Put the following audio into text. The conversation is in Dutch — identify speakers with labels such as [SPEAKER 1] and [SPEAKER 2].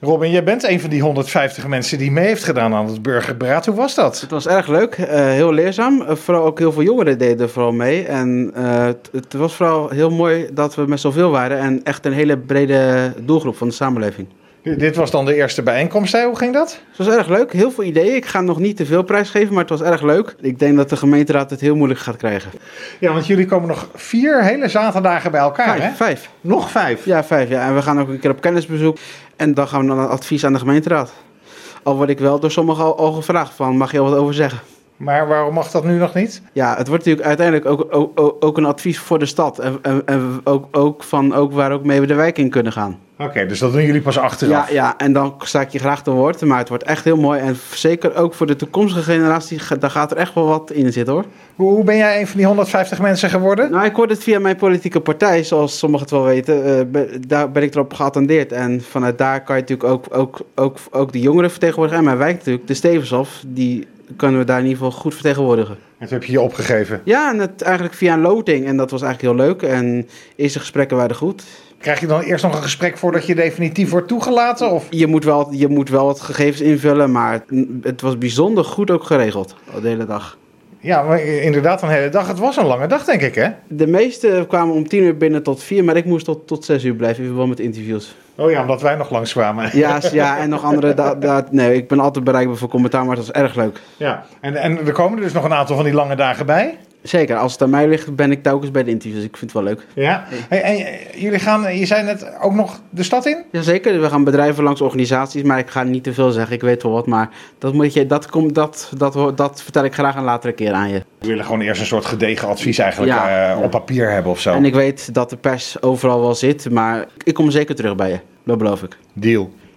[SPEAKER 1] Robin, jij bent een van die 150 mensen die mee heeft gedaan aan het burgerberaad. Hoe was dat?
[SPEAKER 2] Het was erg leuk, eh, heel leerzaam. Eh, vooral ook heel veel jongeren deden vooral mee. En eh, het- het was vooral heel mooi dat we met zoveel waren en echt een hele brede doelgroep van de samenleving.
[SPEAKER 1] Dit was dan de eerste bijeenkomst, hè? Hoe ging dat?
[SPEAKER 2] Het was erg leuk, heel veel ideeën. Ik ga nog niet te veel prijs geven, maar het was erg leuk. Ik denk dat de gemeenteraad het heel moeilijk gaat krijgen.
[SPEAKER 1] Ja, want jullie komen nog vier hele zaterdagen bij elkaar, hè?
[SPEAKER 2] Vijf, vijf.
[SPEAKER 1] Nog vijf.
[SPEAKER 2] Ja, vijf. Ja. En we gaan ook een keer op kennisbezoek. En dan gaan we dan een advies aan de gemeenteraad. Al word ik wel door sommigen al, al gevraagd van, mag je al wat over zeggen?
[SPEAKER 1] Maar waarom mag dat nu nog niet?
[SPEAKER 2] Ja, het wordt natuurlijk uiteindelijk ook, ook, ook- ook een advies voor de stad. En, en, en ook, ook van ook waar ook mee we de wijk in kunnen gaan.
[SPEAKER 1] Oké, dus dat doen jullie pas achteraf.
[SPEAKER 2] Ja, ja, en dan sta ik je graag te woord. Maar het wordt echt heel mooi. En zeker ook voor de toekomstige generatie, ga- daar gaat er echt wel wat in zitten hoor.
[SPEAKER 1] Hoe hoe ben jij een van die 150 mensen geworden?
[SPEAKER 2] Nou, ik hoorde het via mijn politieke partij, zoals sommigen het wel weten. eh, be- daar ben ik erop geattendeerd. En vanuit daar kan je natuurlijk ook, ook, ook, ook de jongeren vertegenwoordigen. En mijn wijk natuurlijk, de Stevenshof, die kunnen we daar in ieder geval goed vertegenwoordigen.
[SPEAKER 1] En toen heb je je opgegeven.
[SPEAKER 2] Ja, en het eigenlijk via een loting. En dat was eigenlijk heel leuk. En eerste gesprekken waren goed.
[SPEAKER 1] Krijg je dan eerst nog een gesprek voordat je definitief wordt toegelaten? Of
[SPEAKER 2] Je moet wel, je moet wel wat gegevens invullen, maar het, het was bijzonder goed ook geregeld de hele dag.
[SPEAKER 1] Ja, maar inderdaad, een hele dag. Het was een lange dag, denk ik, hè?
[SPEAKER 2] De meeste kwamen om tien uur binnen tot vier, maar ik moest tot, tot zes uur blijven in verband met interviews.
[SPEAKER 1] Oh ja, omdat wij nog langs kwamen.
[SPEAKER 2] Ja, s- ja en nog andere. Da, da- nee, ik ben altijd bereikbaar voor commentaar, maar het was erg leuk.
[SPEAKER 1] Ja. En, en er komen dus nog een aantal van die lange dagen bij.
[SPEAKER 2] Zeker, als het aan mij ligt, ben ik telkens bij de interviews. Ik vind het wel leuk.
[SPEAKER 1] Ja. Hey, en eh, jullie gaan, je zei net, ook nog de stad in?
[SPEAKER 2] Jazeker, we gaan bedrijven langs organisaties, maar ik ga niet te veel zeggen. Ik weet wel wat, maar dat, moet je, dat, komt dat, dat, ho- dat vertel ik graag een latere keer aan je.
[SPEAKER 1] We willen gewoon eerst een soort gedegen advies eigenlijk
[SPEAKER 2] Ja.
[SPEAKER 1] eh, op papier hebben of zo.
[SPEAKER 2] En ik weet dat de pers overal wel zit, maar ik kom zeker terug bij je. Dat beloof ik.
[SPEAKER 1] Deal.